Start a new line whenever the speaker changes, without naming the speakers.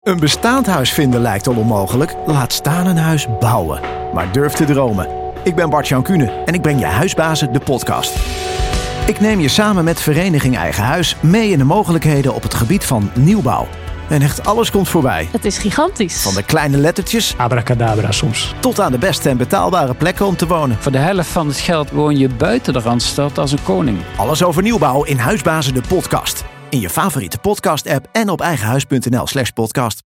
Een bestaand huis vinden lijkt al onmogelijk, laat staan een huis bouwen. Maar durf te dromen. Ik ben Bart-Jan Kuhne en ik breng je Huisbazen de podcast. Ik neem je samen met Vereniging Eigen Huis mee in de mogelijkheden op het gebied van nieuwbouw. En echt alles komt voorbij.
Het is gigantisch.
Van de kleine lettertjes
Abracadabra soms.
tot aan de beste en betaalbare plekken om te wonen.
Voor de helft van het geld woon je buiten de Randstad als een koning.
Alles over nieuwbouw in Huisbazen de podcast. In je favoriete podcast-app en op eigenhuis.nl slash podcast.